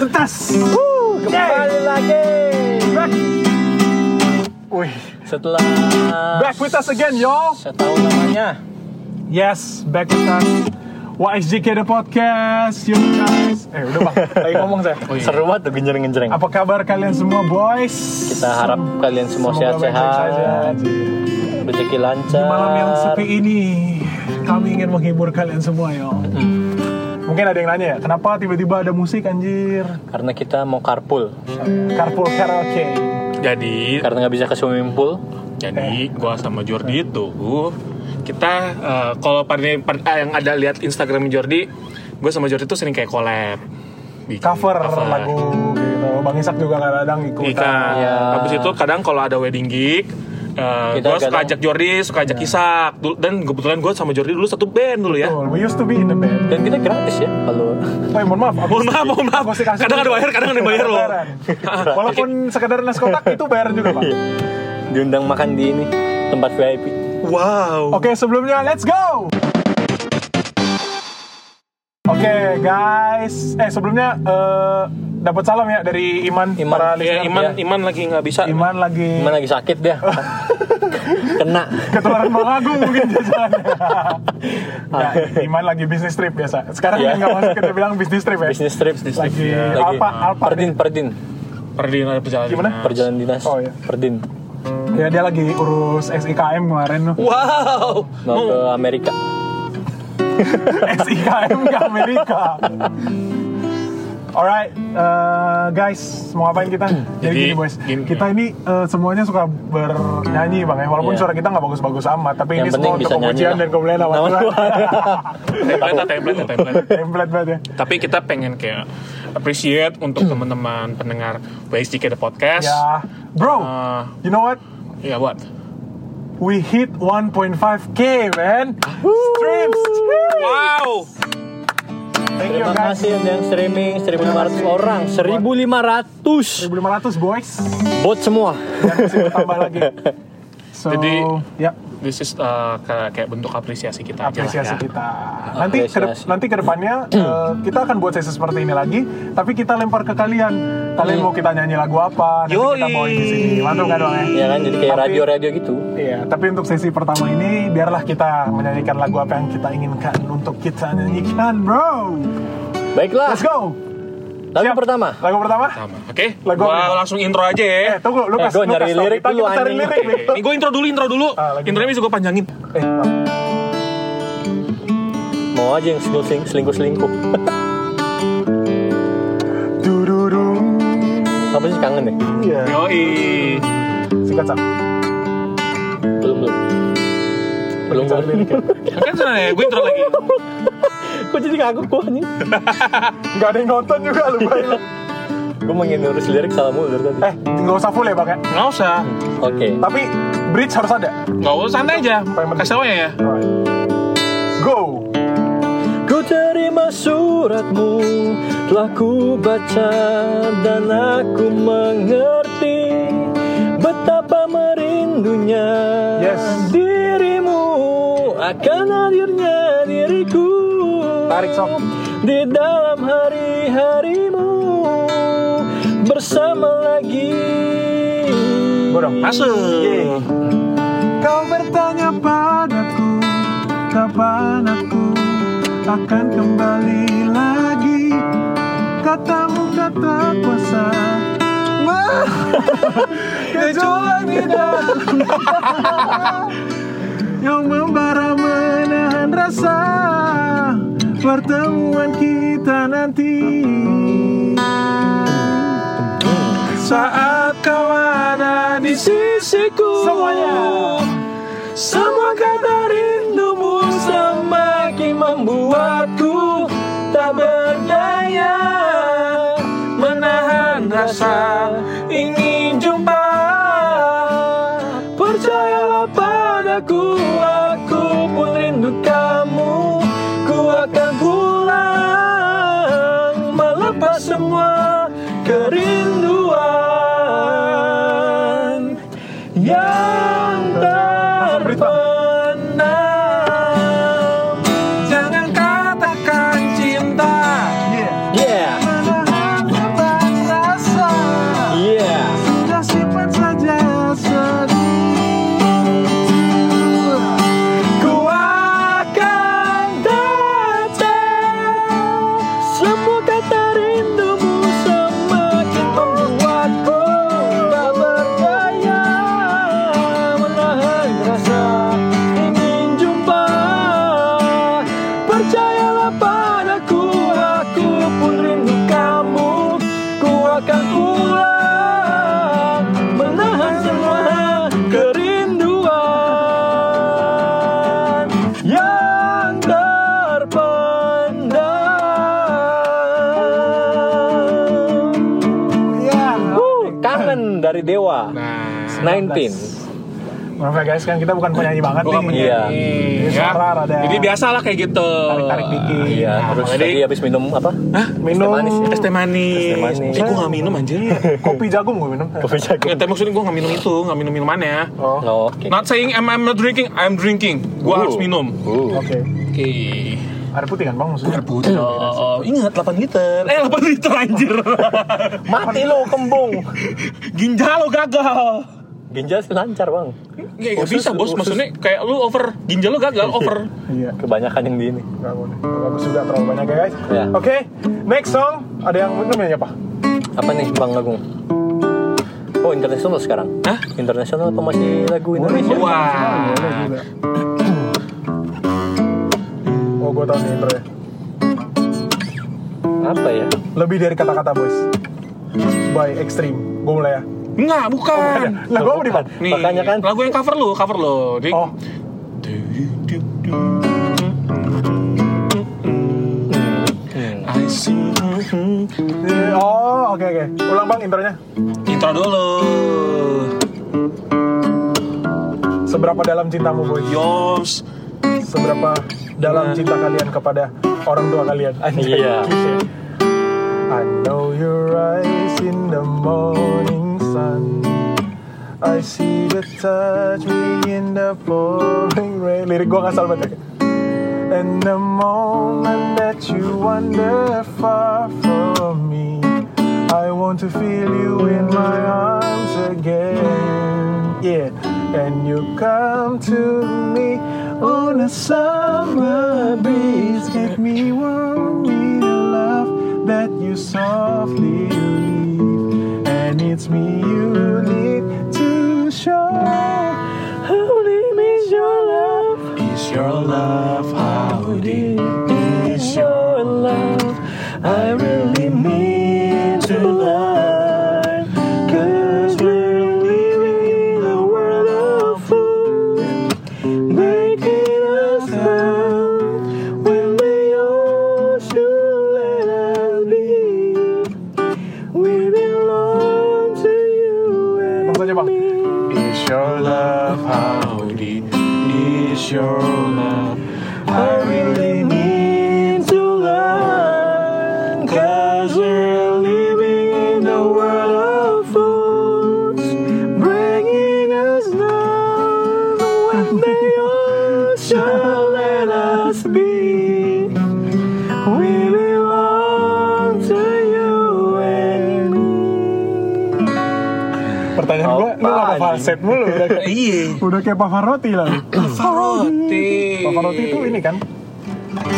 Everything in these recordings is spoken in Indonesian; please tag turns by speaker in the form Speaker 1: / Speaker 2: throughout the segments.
Speaker 1: atas.
Speaker 2: Wuh, kembali lagi.
Speaker 1: Back. Wih.
Speaker 2: Setelah
Speaker 1: Back with us again, y'all.
Speaker 2: setahun namanya.
Speaker 1: Yes, back with us. YSJK The Podcast, you guys. Eh, udah bang, lagi ngomong saya.
Speaker 2: Seru banget tuh genjreng-genjreng.
Speaker 1: Apa kabar kalian semua, boys?
Speaker 2: Kita harap kalian semua
Speaker 1: Semoga baik-baik saja.
Speaker 2: sehat-sehat, rezeki lancar.
Speaker 1: Malam yang sepi ini, kami ingin menghibur kalian semua, yo. Mungkin ada yang nanya ya, kenapa tiba-tiba ada musik, anjir?
Speaker 2: Karena kita mau carpool.
Speaker 1: Carpool karaoke.
Speaker 3: Jadi,
Speaker 2: Karena nggak bisa ke swimming pool.
Speaker 3: jadi gua sama Jordi itu kita eh, kalau pada pada- eh, yang ada lihat Instagram Jordi, gue sama Jordi tuh sering kayak collab. Bikin
Speaker 1: Cover, lagu gitu. Bang Isak juga kadang-kadang
Speaker 3: Ika.
Speaker 1: ikutan.
Speaker 2: Iya.
Speaker 3: kan? Habis itu kadang kalau ada wedding gig,
Speaker 2: Kita
Speaker 3: gue suka
Speaker 2: kadang- Iya.
Speaker 3: ajak Jordi, suka ajak Isak. Dulu- Dan kebetulan gue sama Jordi dulu satu band dulu ya.
Speaker 1: Betul, we used to be in the band.
Speaker 2: Dan kita gratis ya kalau
Speaker 1: Woi, mohon maaf. aku-
Speaker 3: Mohon maaf, mohon maaf.
Speaker 1: aku sih kasih-
Speaker 3: Kadang ada bayar, kadang ada bayar loh.
Speaker 1: Bayaran. Walaupun sekedar nasi kotak itu bayar juga, Pak.
Speaker 2: iya.
Speaker 3: Iya.
Speaker 2: diundang makan di ini tempat VIP.
Speaker 3: Wow.
Speaker 1: Oke, sebelumnya let's go. Oke, guys. Eh, sebelumnya eh, dapat salam ya dari Iman,
Speaker 2: Iman.
Speaker 1: para
Speaker 3: Iya,
Speaker 1: listener.
Speaker 3: Iman, Iman lagi nggak bisa.
Speaker 1: Iman lagi
Speaker 2: Cuman lagi sakit dia. Kena.
Speaker 1: ketularan Bang Agung mungkin jajarannya.
Speaker 3: Ah.
Speaker 1: Nah, Iman lagi bisnis trip biasa. Sekarang
Speaker 2: Iya.
Speaker 1: nggak masuk kita bilang bisnis trip Iya. ya.
Speaker 2: Bisnis trip.
Speaker 1: Lagi,
Speaker 2: Lagi
Speaker 1: Alpa, Alpa.
Speaker 2: Perdin, perdin.
Speaker 3: Perdina perjalanan.
Speaker 1: Gimana?
Speaker 2: Perjalanan dinas.
Speaker 1: Oh, iya.
Speaker 2: Perdin.
Speaker 1: Ya, dia lagi urus SIKM kemarin loh.
Speaker 3: Wow.
Speaker 2: Mau ke
Speaker 1: Hmm.
Speaker 2: Amerika.
Speaker 1: Iya, SIKM ke Amerika. Alright, eh, guys, mau ngapain kita?
Speaker 2: Hmm,
Speaker 1: Jadi,
Speaker 3: Jadi,
Speaker 1: gini boys,
Speaker 3: gini.
Speaker 1: kita ini eh, semuanya suka bernyanyi bang ya, walaupun
Speaker 2: Iya.
Speaker 1: suara kita nggak bagus-bagus amat, tapi
Speaker 2: Yang
Speaker 1: ini semua
Speaker 2: penting
Speaker 1: untuk
Speaker 2: bisa nyanyi.
Speaker 1: kemujian
Speaker 2: lah.
Speaker 1: dan kemuliaan awal
Speaker 2: Nama Tuhan.
Speaker 3: Template, lah, template, lah, template.
Speaker 1: Template banget ya.
Speaker 3: tapi kita pengen kayak appreciate untuk teman-teman pendengar WSDK The Podcast.
Speaker 1: Ya, bro,
Speaker 2: Ah.
Speaker 1: you
Speaker 3: Eh.
Speaker 1: know what?
Speaker 3: Ya buat.
Speaker 1: We hit 1.5k man, streams.
Speaker 3: Wow.
Speaker 1: Thank you
Speaker 2: Terima
Speaker 1: guys.
Speaker 2: kasih yang streaming 1500 orang, 1500
Speaker 1: 1500 boys,
Speaker 2: bot semua.
Speaker 1: dan masih bertambah lagi. So,
Speaker 3: Jadi-
Speaker 1: ya.
Speaker 3: This is uh, kayak, kayak bentuk apresiasi kita aja lah
Speaker 1: apresiasi
Speaker 3: ya.
Speaker 1: kita. Nanti ke dep-
Speaker 2: Apresiasi.
Speaker 1: nanti kedepannya eh, kita akan buat sesi seperti ini lagi, tapi kita lempar ke kalian. Kalian
Speaker 2: Iya.
Speaker 1: mau kita nyanyi lagu apa? Nanti kita
Speaker 3: Yoi.
Speaker 1: bawain di sini. Mantap kan bang?
Speaker 2: Ya kan jadi kayak
Speaker 1: Tapi-
Speaker 2: radio-radio gitu.
Speaker 1: Iya. Tapi untuk sesi pertama ini, biarlah kita menyanyikan lagu apa yang kita inginkan untuk kita nyanyikan, bro.
Speaker 2: Baiklah,
Speaker 1: Let's go.
Speaker 2: lagu
Speaker 1: Siap.
Speaker 2: pertama.
Speaker 1: Lagu pertama.
Speaker 3: Sama. Oke.
Speaker 1: Lagu
Speaker 3: Gua
Speaker 1: apa?
Speaker 3: langsung intro aja ya.
Speaker 1: Eh tunggu, lu
Speaker 2: Eh,
Speaker 1: kasih
Speaker 2: gua
Speaker 1: lu
Speaker 2: nyari
Speaker 1: kasih tau
Speaker 2: lirik
Speaker 1: kita,
Speaker 2: dulu,
Speaker 1: kita cari
Speaker 2: anjing.
Speaker 1: lirik.
Speaker 3: Oke, Ini gue intro dulu, intro dulu.
Speaker 1: Ah, lagi.
Speaker 3: Intronya bisa gue panjangin.
Speaker 1: Eh, maaf.
Speaker 2: Mau aja yang selingkuh- selingkuh-selingkuh.
Speaker 1: Dururu.
Speaker 2: Apa sih kangen ya?
Speaker 1: Iya.
Speaker 3: Yoi.
Speaker 1: Singkat Sam.
Speaker 2: Belum belum. Belum
Speaker 1: Cari
Speaker 2: belum.
Speaker 1: lirik ya.
Speaker 3: Kan sebenarnya gue intro lagi.
Speaker 2: Kok jadi kagum gua nih?
Speaker 1: Nggak ada yang nonton juga lu Bay.
Speaker 2: Gua mau ngurus lirik salah mulu dari tadi.
Speaker 1: Eh, nggak usah full ya bang ya.
Speaker 3: Nggak usah.
Speaker 2: Oke.
Speaker 1: Tapi bridge harus ada.
Speaker 3: Nggak usah santai aja. Kasih tau
Speaker 1: Ah.
Speaker 3: ya.
Speaker 1: Go.
Speaker 2: Ku terima suratmu Telah ku baca Dan aku mengerti Betapa merindunya
Speaker 1: Yes.
Speaker 2: Dirimu Akan hadirnya diriku
Speaker 1: Tarik, Sob.
Speaker 2: Di dalam hari-harimu Bersama lagi
Speaker 1: Borong.
Speaker 3: Masuk.
Speaker 1: Kau bertanya padaku Kapan aku akan kembali lagi Katamu kata kuasa Wah, Gejolak di dalam Yang membara menahan rasa Pertemuan kita nanti Saat kau ada di
Speaker 2: Sisiku
Speaker 1: Semuanya.
Speaker 2: Semua kata rindumu semakin membuatku tak berdaya Menahan rasa ingin jumpa Percayalah padaku, aku pun rindu kamu Ku akan pulang melepas semua kerinduan yang terpendam Jangan katakan cinta
Speaker 1: Yeah.
Speaker 2: Yeah
Speaker 1: Menahan mata
Speaker 2: Seven dari Dewa.
Speaker 3: Nah,
Speaker 2: 19.
Speaker 1: Maaf ya guys, kan kita bukan penyanyi banget
Speaker 3: bukan
Speaker 1: nih.
Speaker 3: penyanyi.
Speaker 2: Iya.
Speaker 1: Jadi sakral ada.
Speaker 3: Jadi biasa lah kayak gitu.
Speaker 1: Tarik-tarik dikit.
Speaker 2: Iya,
Speaker 3: Nah,
Speaker 2: harus
Speaker 3: jadi-
Speaker 2: tadi habis minum apa?
Speaker 3: Hah?
Speaker 1: Minum
Speaker 2: manis ya?
Speaker 3: Es teh manis.
Speaker 2: teh manis.
Speaker 3: Eh, gue gak minum anjir.
Speaker 1: kopi jagung gue minum.
Speaker 2: Kopi jagung.
Speaker 3: Nggak, tapi maksudnya gue gak minum itu, gak minum minumannya.
Speaker 1: Oh, oke.
Speaker 2: Oh, oke.
Speaker 3: Not saying I'm, I'm not drinking, I'm drinking. Gue
Speaker 2: Uh.
Speaker 3: harus minum.
Speaker 1: Oh.
Speaker 2: Uh.
Speaker 3: Oke.
Speaker 1: Air putih kan bang maksudnya?
Speaker 3: Putih. Oh, oh, ingat 8 liter. Eh 8 liter anjir.
Speaker 2: Eh, Mati lo kembung.
Speaker 3: Ginjal lo gagal.
Speaker 2: Ginjal sih lancar, Bang.
Speaker 3: Ya, nggak
Speaker 2: Usus,
Speaker 3: bisa bos,
Speaker 2: usus.
Speaker 3: maksudnya kayak lu over ginjal lu gagal over.
Speaker 1: Iya.
Speaker 2: Kebanyakan yang di ini.
Speaker 1: Gak boleh. Bagus juga terlalu banyak ya guys.
Speaker 2: Iya.
Speaker 1: Oke, next song ada yang minum ya apa?
Speaker 2: Apa nih, Bang Agung? Oh, internasional sekarang.
Speaker 3: Hah?
Speaker 2: Internasional apa masih lagu Indonesia?
Speaker 3: Wah.
Speaker 1: ya? Boleh juga. Oh, gue tau nih intronya.
Speaker 2: Apa ya?
Speaker 1: Lebih dari kata-kata boys. By Extreme. Gue mulai ya.
Speaker 3: Enggak, bukan.
Speaker 1: Lah gue mau di mana?
Speaker 3: Nih,
Speaker 2: Makanya kan-
Speaker 3: lagu yang cover lu, cover lu. Dik.
Speaker 1: Oh,
Speaker 2: Hmm,
Speaker 3: I see. mm-hmm.
Speaker 1: eh, oh, oke oke. Ulang bang intronya.
Speaker 3: Intro dulu.
Speaker 1: Seberapa dalam cintamu boys?
Speaker 3: Yos.
Speaker 1: Seberapa dalam cinta kalian kepada orang tua kalian? Anjay.
Speaker 2: Iya.
Speaker 1: I know you rise in the morning sun. I see the touch me in the pouring rain. Lirik gua ngasal banget. ya. And the moment that you wander far from me, I want to feel you in my arms again. Yeah, and you come to me on a summer breeze, get me warm in a love that you softly leave, and it's me you need to show. Only means your love.
Speaker 3: Is your love how deep
Speaker 1: is your love I really mean to love Cause we're living in a world of fools Making us love When they all should let us be We belong to you and me Is your love
Speaker 3: how deep is your love?
Speaker 1: I really need to learn Cause we're living in a world of fools Bringing us down When they all shall let us be We belong to you and Pertanyaan
Speaker 2: gua, lu kenapa falset
Speaker 1: mulu?
Speaker 3: Iya.
Speaker 1: Udah kayak Pavarotti lah
Speaker 3: Pavarotti.
Speaker 1: Pavarotti itu ini kan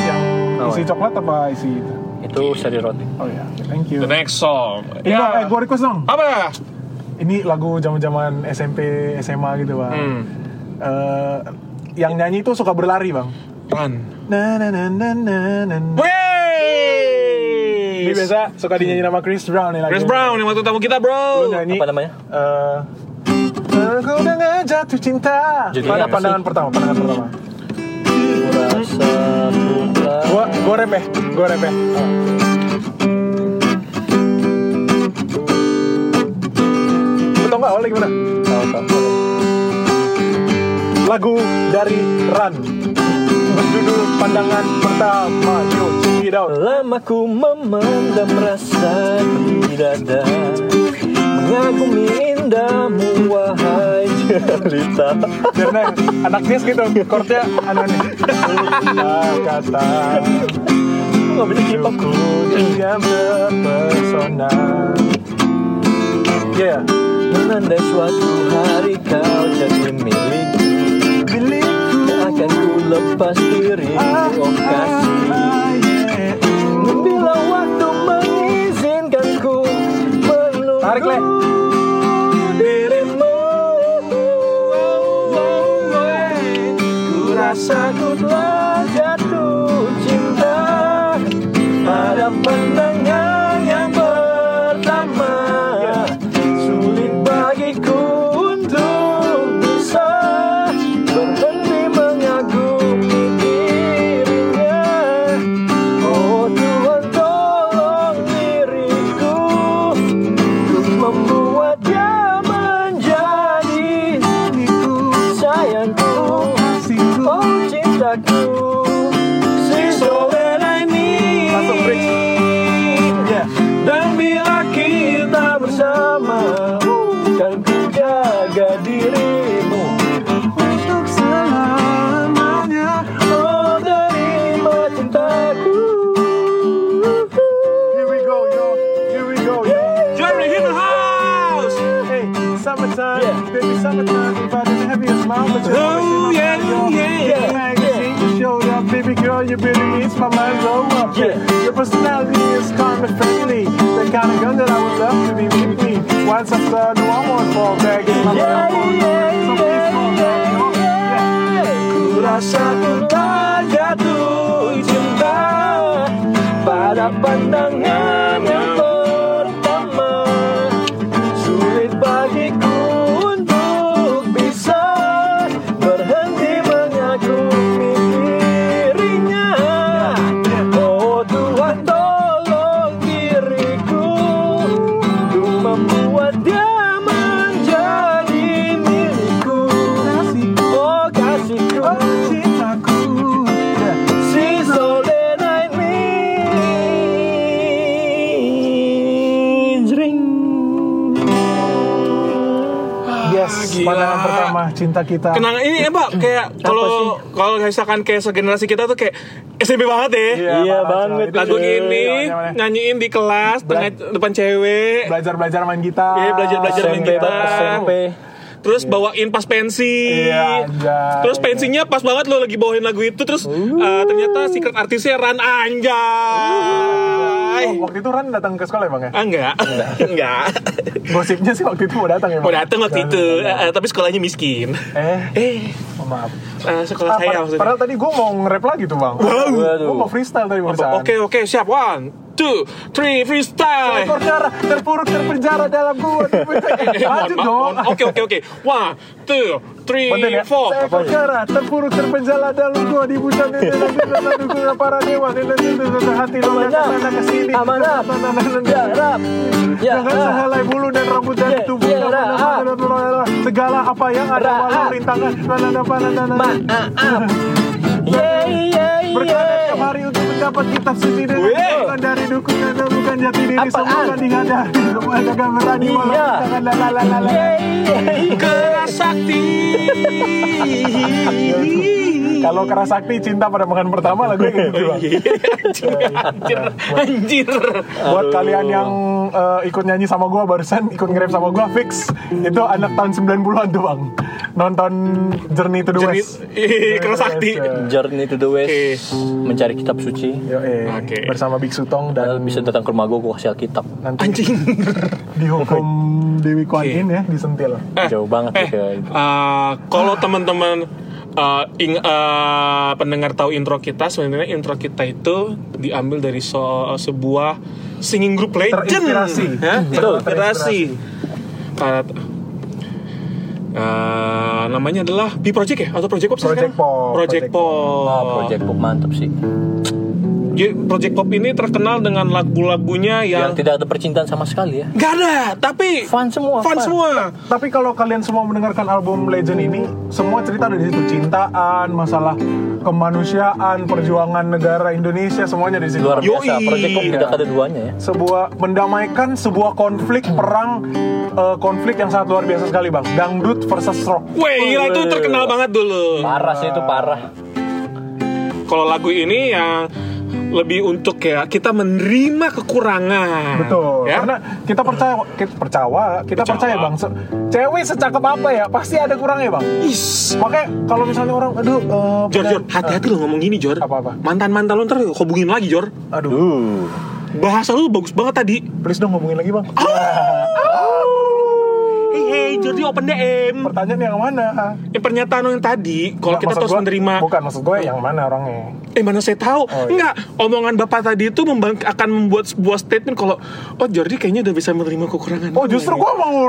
Speaker 1: yang
Speaker 2: Oh,
Speaker 1: isi
Speaker 2: iya.
Speaker 1: coklat apa isi itu?
Speaker 2: Itu seri roti.
Speaker 1: Oh ya, thank you.
Speaker 3: The next song. Ya.
Speaker 1: Ini eh, gue request dong.
Speaker 3: Apa?
Speaker 1: Ini lagu zaman-zaman SMP, SMA gitu bang.
Speaker 3: Hmm.
Speaker 1: Eh, yang nyanyi itu suka berlari bang.
Speaker 3: Run.
Speaker 1: Na na na na na na. na.
Speaker 3: Wey!
Speaker 1: Ini biasa suka dinyanyi nama Chris Brown nih lagu.
Speaker 3: Chris Brown yang waktu tamu kita,
Speaker 1: Lu
Speaker 3: bro.
Speaker 1: nyanyi.
Speaker 2: Apa namanya?
Speaker 1: eh, Aku dengan jatuh cinta.
Speaker 2: Jadi
Speaker 1: Pada
Speaker 2: apa sih?
Speaker 1: pandangan pertama, pandangan pertama.
Speaker 2: Rasa
Speaker 1: Gua gua rap ya, gua rap ya. Lu tau nggak oleh gimana? lagu dari Ran berjudul Pandangan Pertama Yo check it out
Speaker 2: Lama ku memendam rasa di dada Mengagumi indahmu wahai cerita
Speaker 1: karena anak dia gitu chordnya aneh Itulah kata
Speaker 2: Gak bisa keep up.
Speaker 1: hidupku dia berpesona ya yeah.
Speaker 2: Menandai suatu hari kau jadi milikku
Speaker 1: milikku
Speaker 2: Akan ku lepas diri
Speaker 1: ah,
Speaker 2: oh kasih
Speaker 1: ah, yeah.
Speaker 2: Bila waktu mengizinkan ku menunggu
Speaker 1: Tarik, Le.
Speaker 2: dirimu
Speaker 1: Ku rasa ku telah jatuh cinta
Speaker 2: Pada pandangan yang pertama Sulit bagiku untuk bisa Berhenti mengagumi dirinya Oh Tuhan tolong diriku Untuk membuat dia oh, Ya. kan Oh,
Speaker 1: sun Baby summertime provided the heaviest smile But you're
Speaker 3: Oh,
Speaker 1: always in my mind,
Speaker 3: yeah,
Speaker 1: yo.
Speaker 3: yeah,
Speaker 1: Your
Speaker 3: yeah.
Speaker 1: magazine you showed up Baby girl, your beauty makes my mind blow up
Speaker 2: Yeah.
Speaker 1: Your personality is calm and friendly The kind of girl that I would love to be with me Once I start, no one won't fall back in my
Speaker 2: Yeah,
Speaker 1: mind.
Speaker 2: yeah,
Speaker 1: So please fall back, yo. Yeah.
Speaker 2: Ku rasa ku tak jatuh cinta pada pandangan yang pertama Sulit bagiku untuk bisa berhenti mengagumi dirinya Oh Tuhan tolong diriku Untuk membuat dia menjadi milikku Oh kasihku
Speaker 1: Oh, cintaku Yeah.
Speaker 2: She's all that I need Jring
Speaker 1: Yes,
Speaker 3: Ah, gila.
Speaker 1: pandangan pertama cinta kita.
Speaker 3: kenangan ini ya pak kayak
Speaker 1: Hmm.
Speaker 3: kalau kalau misalkan kayak segenerasi kita tuh kayak SMP banget ya
Speaker 2: Iya
Speaker 1: parah,
Speaker 2: banget,
Speaker 1: coy. Nah,
Speaker 3: lagu
Speaker 1: Itu Iya,
Speaker 3: ini
Speaker 1: zaman-zamannya.
Speaker 3: nyanyiin di kelas tengah depan cewek
Speaker 1: belajar-belajar main gitar.
Speaker 3: Iya, belajar-belajar main
Speaker 2: SMP
Speaker 3: kita.
Speaker 2: Pak, SMP
Speaker 3: terus bawain pas pensi
Speaker 1: Iya, anjay. Uh.
Speaker 3: terus pensinya pas banget lo lagi bawain lagu itu terus eh, ternyata secret artisnya Ran anjay
Speaker 1: Oh, waktu itu Ran datang ke sekolah emang ya?
Speaker 3: ah enggak enggak
Speaker 1: Gosipnya sih waktu itu mau datang ya.
Speaker 3: mau dateng waktu itu eh, eh, tapi sekolahnya miskin
Speaker 1: Eh,
Speaker 3: eh
Speaker 1: oh, maaf.
Speaker 3: eh,
Speaker 1: Ah,
Speaker 3: sekolah saya
Speaker 1: pad-
Speaker 3: maksudnya
Speaker 1: padahal tadi gue mau nge-rap lagi tuh bang.
Speaker 2: Waduh.
Speaker 1: Gue mau freestyle tadi
Speaker 3: Apa?
Speaker 1: barusan.
Speaker 3: oke oke siap one two three freestyle
Speaker 1: Ekor darah terpuruk terpenjara dalam gua.
Speaker 3: Eh, mohon
Speaker 1: Lanjut
Speaker 3: maaf,
Speaker 1: dong.
Speaker 3: mohon- Oke oke oke. One, two, three,
Speaker 1: Penting ya?
Speaker 3: four.
Speaker 1: Seekor kera terpuruk terpenjara dalam gua di hutan ini nanti dalam dunia para dewa Nenek itu dalam hati lo yang
Speaker 2: Amanah.
Speaker 1: kesana kesini
Speaker 2: Amanah. Ya Rab Ya
Speaker 1: Jangan
Speaker 2: Rab
Speaker 1: sehelai bulu dan rambut dari
Speaker 2: Ya,
Speaker 1: tubuh
Speaker 2: ya,
Speaker 1: dan
Speaker 2: Ra,
Speaker 1: mana-
Speaker 2: ah.
Speaker 1: mana- mana- mana- Segala apa yang ada
Speaker 2: Ra,
Speaker 1: walau
Speaker 2: ah.
Speaker 1: rintangan mana- mana- mana- mana-
Speaker 2: Maaf Yeah yeah
Speaker 1: Berkadat
Speaker 2: yeah
Speaker 1: kemari untuk mendapat kitab suci dan
Speaker 2: Weh.
Speaker 1: bukan dari dukun dan bukan jati diri
Speaker 2: Apaan?
Speaker 1: semua dihadapi semua gagal berani walau
Speaker 2: ah? Iya.
Speaker 1: rintangan la la la la la.
Speaker 2: Yeah yeah
Speaker 3: Kera sakti.
Speaker 1: Kalau keras sakti cinta pada makan pertama lagu yang gitu Bang.
Speaker 2: Iya.
Speaker 3: Anjir, anjir.
Speaker 1: Buat kalian yang eh, ikut nyanyi sama gua barusan, ikut nge-rap sama gua fix. Itu anak tahun 90-an tuh, Bang. Nonton Journey to the
Speaker 3: Jadi
Speaker 1: West.
Speaker 3: ih, kera sakti.
Speaker 2: Journey to the
Speaker 3: Oke.
Speaker 2: West Mencari kitab suci
Speaker 1: Yo, eh,
Speaker 3: Oke.
Speaker 1: bersama Big Sutong
Speaker 2: Padahal
Speaker 1: dan
Speaker 2: Eh, bisa datang ke rumah gue, gue kasih kitab
Speaker 1: nanti
Speaker 3: Anjing.
Speaker 1: dihukum Dewi Kwan
Speaker 3: Oke.
Speaker 1: Yin ya disentil.
Speaker 2: Jauh banget
Speaker 3: Eh,
Speaker 2: ya kayak gitu.
Speaker 3: eh, kalau teman-teman eh, ing, eh, pendengar tahu intro kita sebenarnya intro kita itu diambil dari so- sebuah singing group legend
Speaker 1: Terinspirasi. Hmm.
Speaker 3: Hah?
Speaker 1: Betul.
Speaker 3: terinspirasi Karat- eh, namanya adalah B Project ya atau Project Pop sih
Speaker 1: Project
Speaker 3: sekarang?
Speaker 1: Pop, Ah,
Speaker 3: Project
Speaker 1: Project
Speaker 3: Pop.
Speaker 2: Wah, Oh, Project Book mantep sih
Speaker 3: Jadi Project Pop ini terkenal dengan lagu-lagunya
Speaker 2: Yang
Speaker 3: yang,
Speaker 2: tidak ada percintaan sama sekali ya
Speaker 3: Gak ada, tapi
Speaker 2: Fun semua
Speaker 3: fun semua.
Speaker 1: Tapi kalau kalian semua mendengarkan album Legend ini, semua cerita ada di situ cintaan, masalah kemanusiaan, perjuangan negara Indonesia semuanya di situ.
Speaker 2: Luar
Speaker 3: Yoi.
Speaker 2: biasa, Project Book tidak ada duanya ya
Speaker 1: sebuah mendamaikan sebuah konflik perang eh, konflik yang sangat luar biasa sekali bang dangdut versus rock
Speaker 3: Weh, gila itu terkenal banget dulu.
Speaker 2: Parah sih itu parah
Speaker 3: Kalau lagu ini yang lebih untuk ya kita menerima kekurangan.
Speaker 1: betul
Speaker 3: Ya?
Speaker 1: karena kita percaya kita percaya kita percaya bang se- cewek secakep apa ya pasti ada kurangnya bang
Speaker 3: Is.
Speaker 1: makanya kalau misalnya orang aduh eh,
Speaker 3: Jor,
Speaker 1: punya-
Speaker 3: Jor, hati-hati lo ngomong gini, Jor.
Speaker 1: Apa-apa?
Speaker 3: Mantan-mantan lo ntar hubungin lagi, Jor.
Speaker 1: aduh
Speaker 2: Uh.
Speaker 3: Bahasa lo bagus banget tadi.
Speaker 1: please dong ngomongin lagi bang
Speaker 3: Ah. Hey, hey, Jor, di open DM.
Speaker 1: pertanyaan yang mana
Speaker 3: Yang pernyataan lo yang tadi, kalau
Speaker 1: Nggak,
Speaker 3: kita
Speaker 1: maksud
Speaker 3: terus
Speaker 1: gua-
Speaker 3: menerima,
Speaker 1: bukan maksud gue yang mana orangnya
Speaker 3: eh mana saya tahu?
Speaker 1: Oh, iya.
Speaker 3: Enggak, omongan bapak tadi itu membang- akan membuat sebuah statement kalau, oh Jordi kayaknya udah bisa menerima kekurangan.
Speaker 1: oh justru gue mau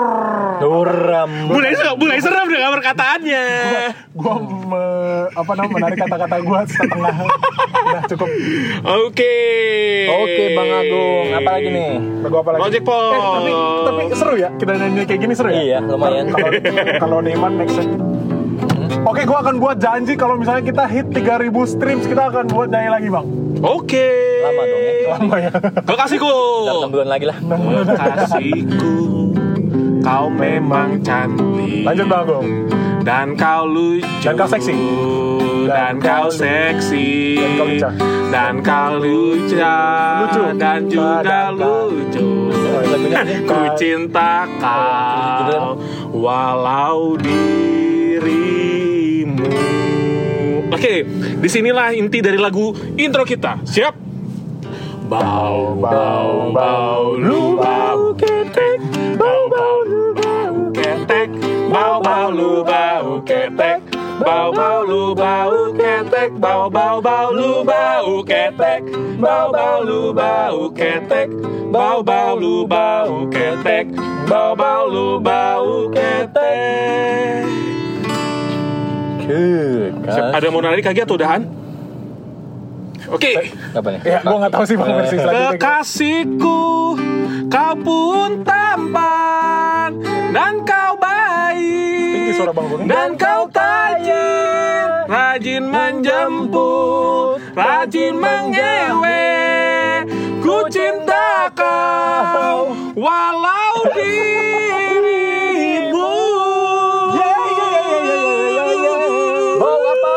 Speaker 2: Duram
Speaker 3: mulai seram, mulai seram dengan perkataannya.
Speaker 1: gue
Speaker 3: Hmm.
Speaker 1: apa namanya menarik kata-kata gue setengah udah cukup
Speaker 3: Oke.
Speaker 2: Oke Bang Agung, apa lagi nih?
Speaker 1: Lagu Nah, apa lagi?
Speaker 3: Project Pop.
Speaker 1: Eh, tapi, tapi seru ya, kita nyanyi kayak gini seru ya?
Speaker 2: Iya, lumayan. Hmm?
Speaker 1: Kalau- Kalau Neman next time. Oke, gua akan buat janji kalau misalnya kita hit 3000 streams, kita akan buat nyanyi lagi, Bang.
Speaker 3: Oke.
Speaker 2: Lama dong ya.
Speaker 1: Lama ya.
Speaker 3: Kau kasihku.
Speaker 2: Ntar enam bulan lagi lah
Speaker 3: Kasihku. Kau memang cantik.
Speaker 1: Lanjut, Bang Agung.
Speaker 3: Dan kau lucu.
Speaker 1: Dan kau seksi. Dan
Speaker 3: Dan, kau
Speaker 1: kau
Speaker 3: seksi.
Speaker 1: Dan kau lincah.
Speaker 3: Dan kau lucu.
Speaker 1: Lucu.
Speaker 3: Dan juga
Speaker 1: Dan kau- Oh,
Speaker 3: lucu.
Speaker 2: Lagunya
Speaker 3: Ku cinta kau walau dirimu. Oke, disinilah inti dari lagu intro kita. Siap? Bau bau bau lu bau ketek, bau bau lu bau ketek, bau bau lu bau ketek. Bau bau lu bau ketek, bau bau bau lu bau ketek, bau bau lu bau ketek, bau bau lu bau ketek, bau bau lu bau ketek.
Speaker 4: Good. Kan?
Speaker 3: Siap, Ada mau narik lagi atau udahan? Oke.
Speaker 4: Apa nih?
Speaker 1: Ya, gue nggak tahu sih
Speaker 3: Eh,
Speaker 1: bang persis lagi.
Speaker 3: Kekasihku, kau pun tampan dan kau baik.
Speaker 1: Tinggi suara Bang Bung.
Speaker 3: Dan kau tajir, rajin menjemput, rajin mengewe. Ku cinta kau, walau dirimu.
Speaker 4: Bau apa?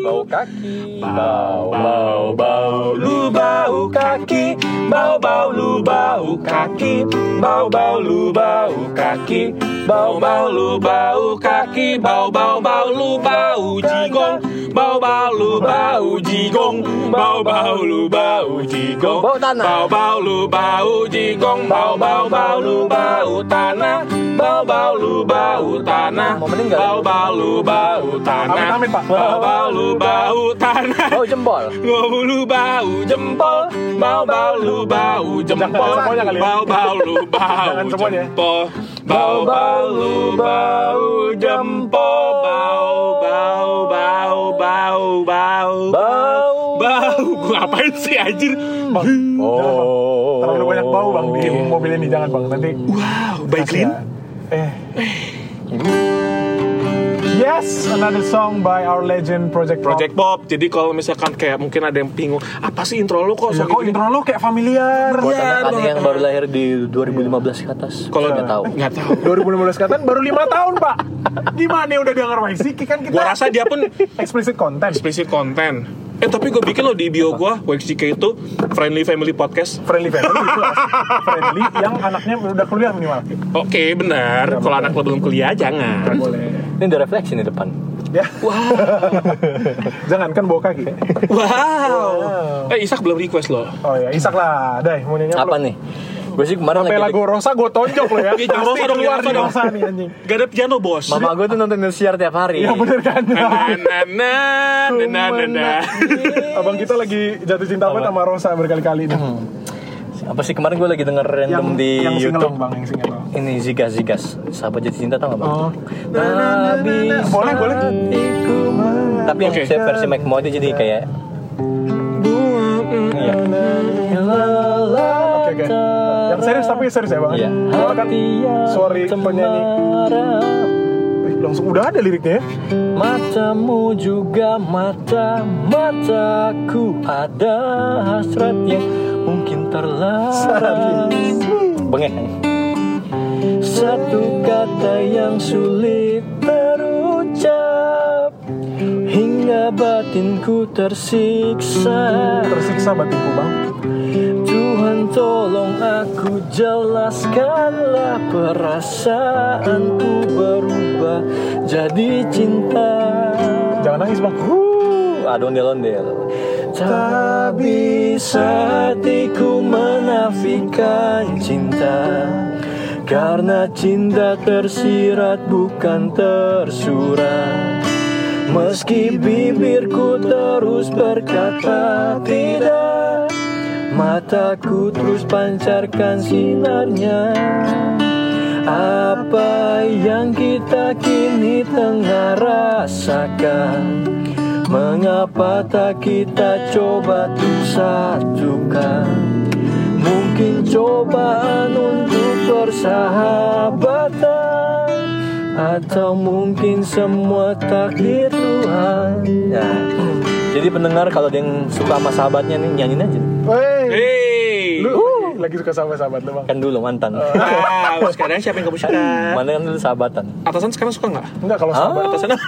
Speaker 4: Bau kaki. Bau kaki. Bau.
Speaker 3: bau bau lu bau kaki bau bau lu bau kaki bau bau lu bau kaki bau bau lu bau kaki bau bau bau lu bau jigong bau bau lu bau jigong bau bau lu bau jigong
Speaker 2: Bau tanah.
Speaker 3: bau bau lu bau jigong bau bau bau lu bau tanah bau bau lu bau tanah
Speaker 2: Mau meninggal.
Speaker 3: bau bau lu bau tanah
Speaker 1: Amit, amit, Pak.
Speaker 3: bau bau lu bau tanah
Speaker 2: Bau jempol.
Speaker 3: Bau lu bau jempol, bau bau lu bau jempol,
Speaker 1: Jangan semuanya kali ya.
Speaker 3: bau bau lu bau
Speaker 1: Jangan semuanya.
Speaker 3: jempol, bau bau lu bau jempol, bau bau bau bau bau
Speaker 2: Bau.
Speaker 3: bau. Gua ngapain sih anjir?
Speaker 4: Oh.
Speaker 1: Terlalu banyak bau bang di mobil ini jangan bang nanti.
Speaker 3: Wow, by Clean.
Speaker 1: Eh. Yes, another song by our legend Project Pop.
Speaker 3: Project Bob. Jadi kalau misalkan kayak mungkin ada yang bingung, apa sih intro lu kok?
Speaker 1: Ya,
Speaker 3: sok
Speaker 1: kok intro lo kayak familiar. Iya.
Speaker 2: Buat anak-anak yang baru lahir di 2015 ke atas.
Speaker 3: Kalau
Speaker 2: nggak tahu.
Speaker 3: nggak tahu.
Speaker 1: 2015 katan baru 5 tahun pak. Gimana ya udah denger Waisiki kan kita
Speaker 3: Gua rasa dia pun
Speaker 1: explicit content.
Speaker 3: explicit konten. Eh tapi gue bikin loh di bio gue WXJK itu Friendly Family Podcast
Speaker 1: Friendly family jelas. Friendly yang anaknya udah kuliah minimal.
Speaker 3: Oke benar Kalau anak lo belum kuliah jangan
Speaker 1: Boleh.
Speaker 2: Ini ada refleksi nih depan.
Speaker 1: Ya. Jangankan bawa kaki.
Speaker 3: Wow Eh Isak belum request loh
Speaker 1: Oh ya, Isak lah. Dai, mau nyanyi
Speaker 2: Apa
Speaker 1: lo?
Speaker 2: nih? Gue sih kemarin
Speaker 1: Sampai
Speaker 2: lagi
Speaker 1: lagu Rosa gue tonjok lo ya.
Speaker 3: Iya, jangan Rosa
Speaker 1: keluar
Speaker 3: dong, jangan
Speaker 1: di
Speaker 3: Rosa dong.
Speaker 1: Rosa nih anjing.
Speaker 3: Gak ada piano bos
Speaker 2: Mama gue tuh nonton Indosiar tiap hari.
Speaker 1: Iya bener kan.
Speaker 3: Na, na, na, na, na, na, na.
Speaker 1: Abang kita lagi jatuh cinta banget sama Rosa berkali-kali nih.
Speaker 2: Apa sih kemarin gue lagi denger random Hmm. di
Speaker 1: yang singelong,
Speaker 2: YouTube.
Speaker 1: bang, yang singelong.
Speaker 2: Ini Zigas Zigas. Sahabat jatuh cinta tau gak bang?
Speaker 1: Oh.
Speaker 2: Habis
Speaker 1: Boleh, boleh.
Speaker 2: hatiku men- Tapi yang
Speaker 3: Oke.
Speaker 2: saya versi Mike Mo itu jadi kayak Iya.
Speaker 1: Oke, oke. Yang serius tapi serius ya bang.
Speaker 2: Iya.
Speaker 1: Karena kan, sorry penyanyi. Ih, Langsung udah ada liriknya ya.
Speaker 2: Matamu juga mata mataku ada hasrat yang mungkin terlarang. Bengek. Satu kata yang sulit terucap hingga batinku tersiksa.
Speaker 1: Tersiksa batinku bang.
Speaker 2: Tuhan tolong aku jelaskanlah perasaanku berubah jadi cinta
Speaker 1: Jangan nangis bang.
Speaker 2: Huh, Adondel ondel Tak bisa hatiku menafikan cinta Karena cinta tersirat bukan tersurat Meski bibirku terus berkata tidak Mataku terus pancarkan sinarnya Apa yang kita kini tengah rasakan Mengapa tak kita coba tuh satukan Mungkin cobaan untuk persahabatan Atau mungkin semua takdir Tuhan Ya. Jadi pendengar kalau ada yang suka sama sahabatnya nih nyanyiin aja
Speaker 1: Wey.
Speaker 3: Hey
Speaker 1: Lu lagi suka sama sahabat lu bang?
Speaker 2: Kan dulu mantan
Speaker 3: Wow sekarang siapa yang kamu suka?
Speaker 2: Mana kan dulu sahabatan Ah.
Speaker 3: Atasan sekarang suka nggak?
Speaker 1: Enggak kalau
Speaker 2: Oh.
Speaker 1: sahabat.
Speaker 3: Atasan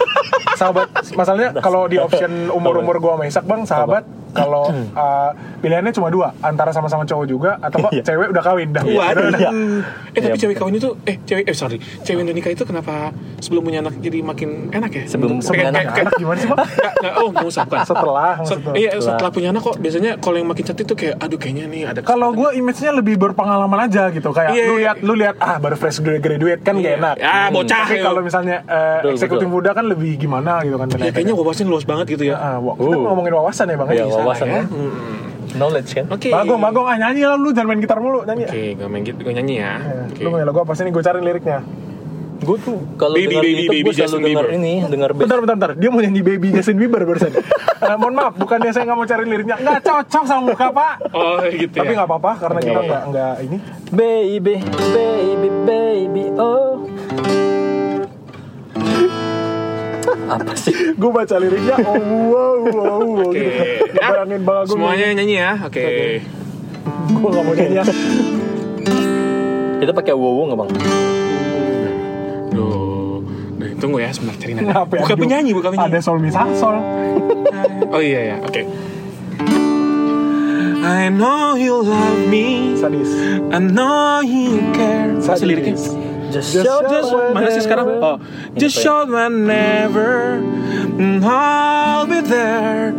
Speaker 1: Sahabat, masalahnya kalau di option umur-umur gua sama Isak bang, sahabat kalau
Speaker 3: Hmm.
Speaker 1: uh, pilihannya cuma dua antara sama-sama cowok juga atau
Speaker 3: Iya.
Speaker 1: kok cewek udah kawin dah
Speaker 3: Waduh.
Speaker 2: Iya.
Speaker 3: Eh tapi
Speaker 2: Iya.
Speaker 3: cewek kawin itu eh cewek eh sorry cewek yang udah nikah itu kenapa sebelum punya anak jadi makin enak ya?
Speaker 2: Sebelum-
Speaker 3: Untuk-
Speaker 2: sebelum
Speaker 3: kayak-
Speaker 2: anak.
Speaker 3: kayak-
Speaker 1: anak
Speaker 3: kayak-
Speaker 1: gimana sih bang
Speaker 3: Nggak, nggak, oh nggak usah bukan.
Speaker 1: Setelah,
Speaker 3: Se-
Speaker 1: maksudnya.
Speaker 3: iya setelah punya anak kok biasanya kalau yang makin cantik tuh kayak aduh kayaknya nih ada.
Speaker 1: kalau gue image-nya lebih berpengalaman aja gitu kayak
Speaker 3: Iya.
Speaker 1: lu lihat lu lihat ah baru fresh gra- graduate kan gak
Speaker 3: Iya.
Speaker 1: enak
Speaker 3: Ah, bocah,
Speaker 1: tapi
Speaker 3: iya.
Speaker 1: kalau misalnya eh,
Speaker 2: Betul,
Speaker 1: eksekutif
Speaker 2: betul.
Speaker 1: muda kan lebih gimana gitu kan
Speaker 3: Ya, kayaknya wawasan luas banget gitu ya.
Speaker 1: Ah, wah, kita
Speaker 2: Uh.
Speaker 1: ngomongin wawasan ya bang
Speaker 2: Iya,
Speaker 1: Iya.
Speaker 2: wawasan
Speaker 3: ya.
Speaker 2: kan. Knowledge kan.
Speaker 3: Oke.
Speaker 1: Bagong, bagong, ah nyanyi lah lu, jangan main gitar mulu, nyanyi
Speaker 3: Oke, gue main gitu, gue nyanyi ya. Oke.
Speaker 1: Eh, Lu main lagu apa sih nih, gue cari liriknya Gue tuh
Speaker 2: Kalau
Speaker 3: Baby,
Speaker 2: dengar
Speaker 3: baby,
Speaker 2: itu
Speaker 3: baby
Speaker 2: gue selalu
Speaker 3: Justin
Speaker 2: dengar
Speaker 3: Bieber.
Speaker 2: ini, dengar bass.
Speaker 1: Bentar, bentar, bentar. Dia mau nyanyi Baby Justin Bieber barusan. Eh, mohon maaf, bukannya saya nggak mau cari liriknya. Nggak cocok sama muka, Pak.
Speaker 3: Oh gitu ya.
Speaker 1: Tapi nggak apa-apa, karena kita nggak nggak ini.
Speaker 2: Baby, baby, baby, oh. Apa sih?
Speaker 1: Gue baca liriknya, oh wow, wow, wow.
Speaker 3: Oke.
Speaker 1: Gitu.
Speaker 3: Ya,
Speaker 1: Bayangin Bang Agung.
Speaker 3: Semuanya nyanyi ya. Oke.
Speaker 1: Gue nggak mau nyanyi.
Speaker 2: Kita pakai wowo nggak bang?
Speaker 3: Duh. Duh, tunggu ya sebentar cari nada.
Speaker 1: Kenapa ya,
Speaker 3: Bukan
Speaker 1: Agung?
Speaker 3: penyanyi, bukan
Speaker 1: Ada
Speaker 3: penyanyi.
Speaker 1: sol misasol.
Speaker 3: Oh iya ya, oke. I know you love me.
Speaker 1: Sadis.
Speaker 3: I know you care. Apa sih liriknya?
Speaker 1: Sadis.
Speaker 2: Just
Speaker 3: Show just mana sih sekarang? Oh, just
Speaker 1: ya?
Speaker 3: show whenever and I'll be there.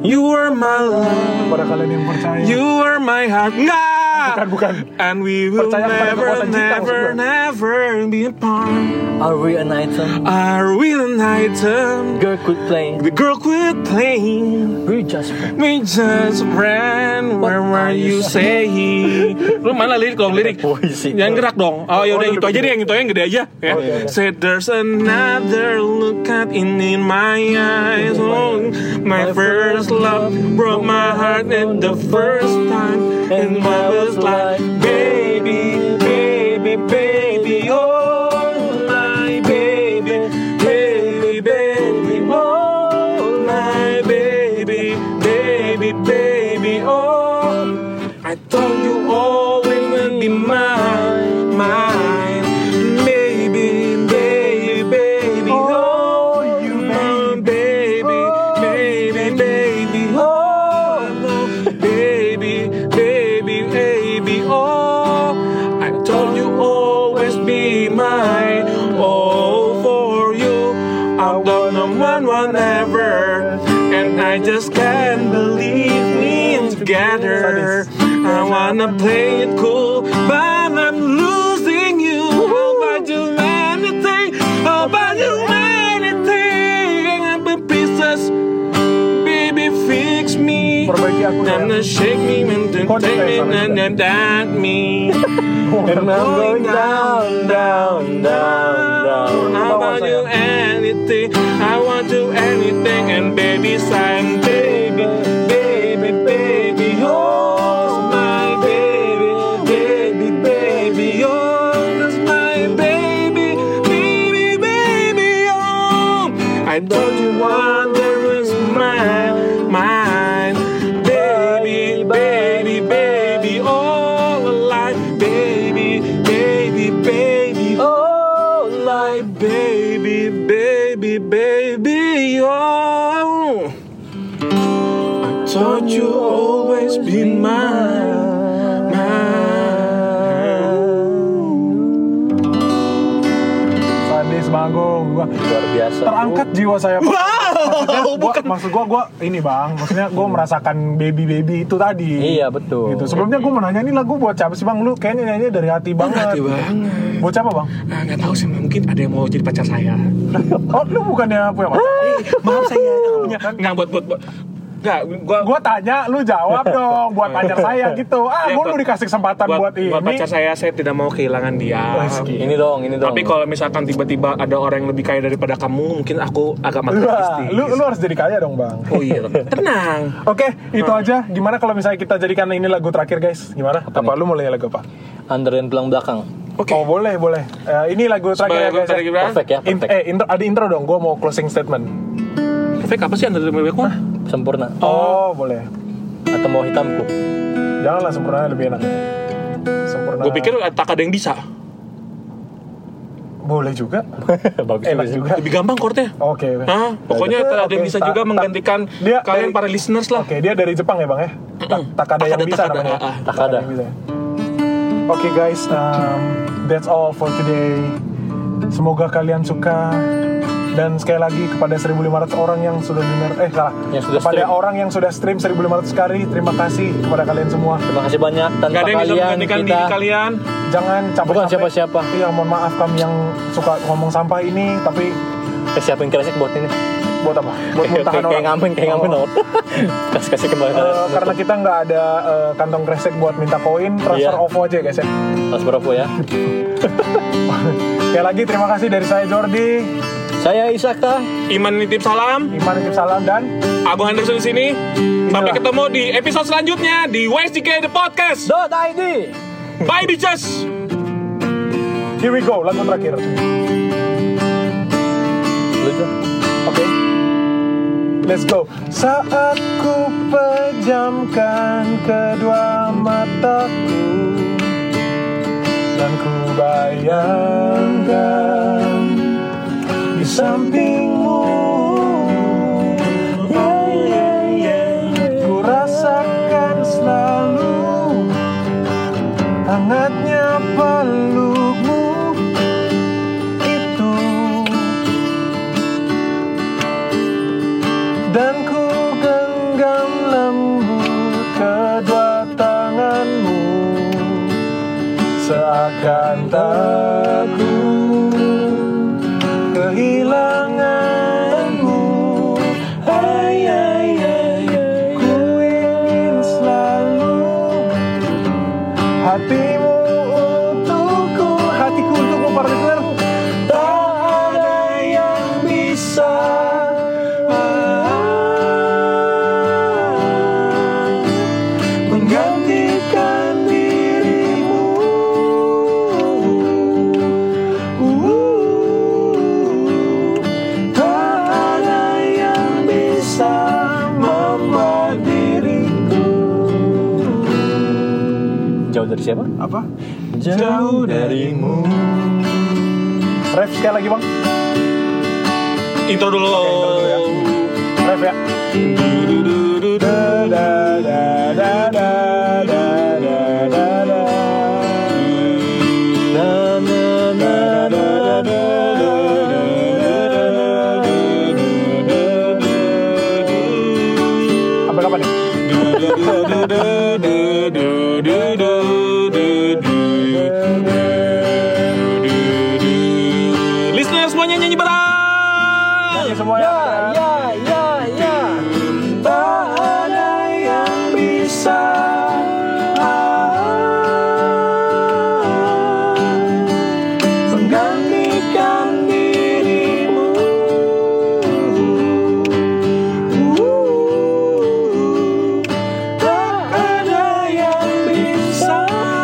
Speaker 3: You are my love.
Speaker 1: Kepada kalian yang percaya.
Speaker 3: You are my heart. Nah.
Speaker 1: Bukan, bukan.
Speaker 3: And we will
Speaker 1: Percaya kepada
Speaker 3: never,
Speaker 1: kekuatan cinta,
Speaker 3: never,
Speaker 1: maksud gue.
Speaker 3: never be apart.
Speaker 2: Are we an item?
Speaker 3: Are we an item?
Speaker 2: Girl could play.
Speaker 3: The girl quit playing.
Speaker 2: We just friends.
Speaker 3: We just ran. Where were you saying? Lu mana lirik dong lirik?
Speaker 2: Puisi.
Speaker 3: Yang gerak dong. Oh ya udah
Speaker 1: Oh,
Speaker 3: itu aja deh yang itu aja, yang gede aja. Ya. Say there's another look at in, in my eyes. Oh, my first love broke my heart and the first time and I was like baby, baby, baby, oh my baby, baby, baby, oh my baby, baby, baby, oh. I thought you always will be mine, mine. Baby, baby, baby, oh, you my baby, baby, baby, oh, no. baby, baby, baby, oh. I thought you always be mine, oh, for you. I'm gonna one whenever, and I just can't believe me and together. I wanna play it cool, but I'm losing you. How about you anything? How about you anything? I'm in pieces. Baby, fix me.
Speaker 1: Perbaiki aku,
Speaker 3: Then
Speaker 1: sayang.
Speaker 3: shake me and then
Speaker 1: Kode
Speaker 3: take me
Speaker 1: saya,
Speaker 3: and then that me.
Speaker 1: Karena
Speaker 3: I'm going
Speaker 1: going down.
Speaker 2: Down, down, down, down.
Speaker 3: I want you anything, I want you anything, and baby sign, baby, baby, baby, oh my baby, baby, baby, oh that's my baby, baby, baby, oh. I thought you wonder is mine, mine, baby, baby, baby, oh alive, baby, baby, baby, oh
Speaker 2: Oh,
Speaker 3: my baby, baby, baby, oh. I thought you always be mine, mine.
Speaker 1: Sadis bagong. Gua
Speaker 2: luar biasa.
Speaker 1: terangkat jiwa saya. Pak. Maksudnya
Speaker 3: Wow,
Speaker 1: gua-
Speaker 3: bukan.
Speaker 1: Maksud gue, gue ini bang. Maksudnya gue merasakan baby baby itu tadi.
Speaker 2: Iya, betul.
Speaker 1: Gitu. Sebelumnya gue mau nanya ini lagu buat siapa sih bang? Lu kayaknya nyanyi dari hati banget.
Speaker 3: Hati banget.
Speaker 1: Buat siapa bang?
Speaker 3: Ah, nggak tahu sih, mungkin ada yang mau jadi pacar saya.
Speaker 1: Oh lu bukannya punya pacar?
Speaker 3: Eh, Maaf saya nggak punya, nggak buat buat buat. Nggak, gua,
Speaker 1: Gue tanya, lu jawab dong. Buat pacar saya gitu. Ah,
Speaker 3: Iya,
Speaker 1: mau lu
Speaker 3: buat-
Speaker 1: dikasih kesempatan buat,
Speaker 3: buat,
Speaker 1: ini.
Speaker 3: buat pacar saya, saya tidak mau kehilangan dia. Gitu.
Speaker 1: Wah,
Speaker 2: Ini dong, ini dong.
Speaker 3: Tapi kalau misalkan tiba-tiba ada orang yang lebih kaya daripada kamu, mungkin aku agak
Speaker 1: Wah,
Speaker 3: materialistis.
Speaker 1: lu, lu harus jadi kaya dong bang.
Speaker 3: Oh iya, tenang.
Speaker 1: Oke, itu aja. Gimana kalau misalnya kita jadikan ini lagu terakhir guys? Gimana? Apa, lu mau nyanyi lagu apa?
Speaker 2: Under dan pelang belakang.
Speaker 3: Oke.
Speaker 1: Oh boleh boleh. Eh, ini lagu terakhir ya
Speaker 3: Sebagai
Speaker 1: guys. ya.
Speaker 3: terakhir, Bang.
Speaker 2: Perfect ya,
Speaker 1: In-
Speaker 2: perfect.
Speaker 1: eh intro, ada intro dong. Gue mau closing statement.
Speaker 3: Fake apa sih yang dari Mewek mah?
Speaker 2: Sempurna.
Speaker 1: Oh, boleh.
Speaker 2: Atau mau hitamku.
Speaker 1: Janganlah sempurna lebih enak. Sempurna.
Speaker 3: Gue pikir tak ada yang bisa.
Speaker 1: Boleh juga.
Speaker 2: Bagus
Speaker 1: Enak juga.
Speaker 3: Lebih gampang chordnya.
Speaker 1: Oke.
Speaker 3: Hah? Pokoknya
Speaker 1: Oke,
Speaker 3: tak ada yang bisa
Speaker 1: tak-
Speaker 3: juga
Speaker 1: tak-
Speaker 3: menggantikan
Speaker 1: dia
Speaker 3: kalian
Speaker 1: dari-
Speaker 3: para listeners lah.
Speaker 1: Oke, dia dari Jepang ya bang ya? Tak, takada yang
Speaker 3: Takada,
Speaker 1: bisa
Speaker 3: takada,
Speaker 1: namanya.
Speaker 3: ah, ah,
Speaker 1: Tak ada
Speaker 2: takada.
Speaker 1: yang bisa. Oke guys, um, that's all for today. Semoga kalian suka dan sekali lagi kepada 1.500 orang yang sudah dengar, eh salah,
Speaker 2: Yang sudah
Speaker 1: kepada
Speaker 2: stream.
Speaker 1: orang yang sudah stream 1.500 kali, terima kasih kepada kalian semua.
Speaker 2: Terima kasih banyak tanpa
Speaker 3: Gak ada yang bisa
Speaker 2: kalian
Speaker 3: menggantikan
Speaker 2: kita
Speaker 3: diri kalian.
Speaker 1: Jangan capek
Speaker 2: Bukan siapa-siapa.
Speaker 1: Iya, mohon maaf kami yang suka ngomong sampah ini, tapi
Speaker 2: eh, siapin kresek buat ini.
Speaker 1: buat apa? Buat
Speaker 2: Kayak
Speaker 1: muntahan
Speaker 2: kayak
Speaker 1: orang.
Speaker 2: ngamen, kayak ngamen.
Speaker 1: Oh.
Speaker 2: oh. Kasih kasih kembali.
Speaker 1: Eh, karena kita nggak ada eh, kantong kresek buat minta koin, transfer
Speaker 2: Iya.
Speaker 1: OVO aja guys ya.
Speaker 2: Mas Bravo ya.
Speaker 1: Sekali lagi terima kasih dari saya Jordi,
Speaker 2: Saya Isaka.
Speaker 3: Iman nitip salam.
Speaker 1: Iman Nitip Salam dan
Speaker 3: Agung Anderson di sini. Sampai ketemu di episode selanjutnya di WSDK The Podcast.
Speaker 2: Dot ID.
Speaker 3: Bye bitches.
Speaker 1: Here We Go, lagu terakhir. Oke,
Speaker 2: Lucu.
Speaker 1: let's go. Saat ku pejamkan kedua mataku dan ku bayangkan di sampingmu. Yeah, yeah, yeah. Ku rasakan selalu hangatnya pelukmu itu dan ku genggam lembut kedua tanganmu seakan takut kehilanganmu ay, ay, ay, ay. ku ingin selalu Hatimu untukku Hatiku untukmu para listener Tak ada yang bisa Menggantikan dirimu Tak ada yang bisa Membuat diriku
Speaker 2: Jauh dari siapa?
Speaker 1: apa jauh darimu ref sekali lagi bang
Speaker 3: Intro dulu.
Speaker 1: ref ya da da da da da da da da da
Speaker 2: Na na na na na.
Speaker 1: apa apa nih ya.
Speaker 3: Listener semuanya nyanyi bareng.
Speaker 1: ya semuanya ya ya ya tak ada yang bisa menggantikan dirimu tak ada yang bisa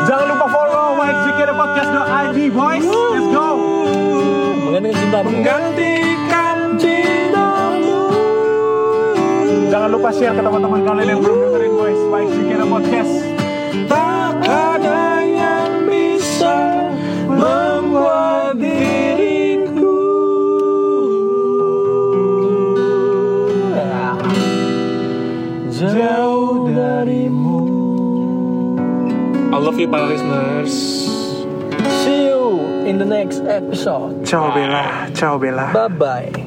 Speaker 1: jangan lupa follow YZKDPodcast.id boys let's go
Speaker 2: Menggantikan cintamu.
Speaker 1: Gantikan cintamu Jangan lupa share ke teman-teman kalian yang belum dengerin Boys Baik Sikira Podcast Tak ada yang bisa membuat diriku Jauh darimu
Speaker 3: I love you para listeners.
Speaker 2: See you in the next episode.
Speaker 1: Ciao Bella, ciao Bella
Speaker 2: Bye bye.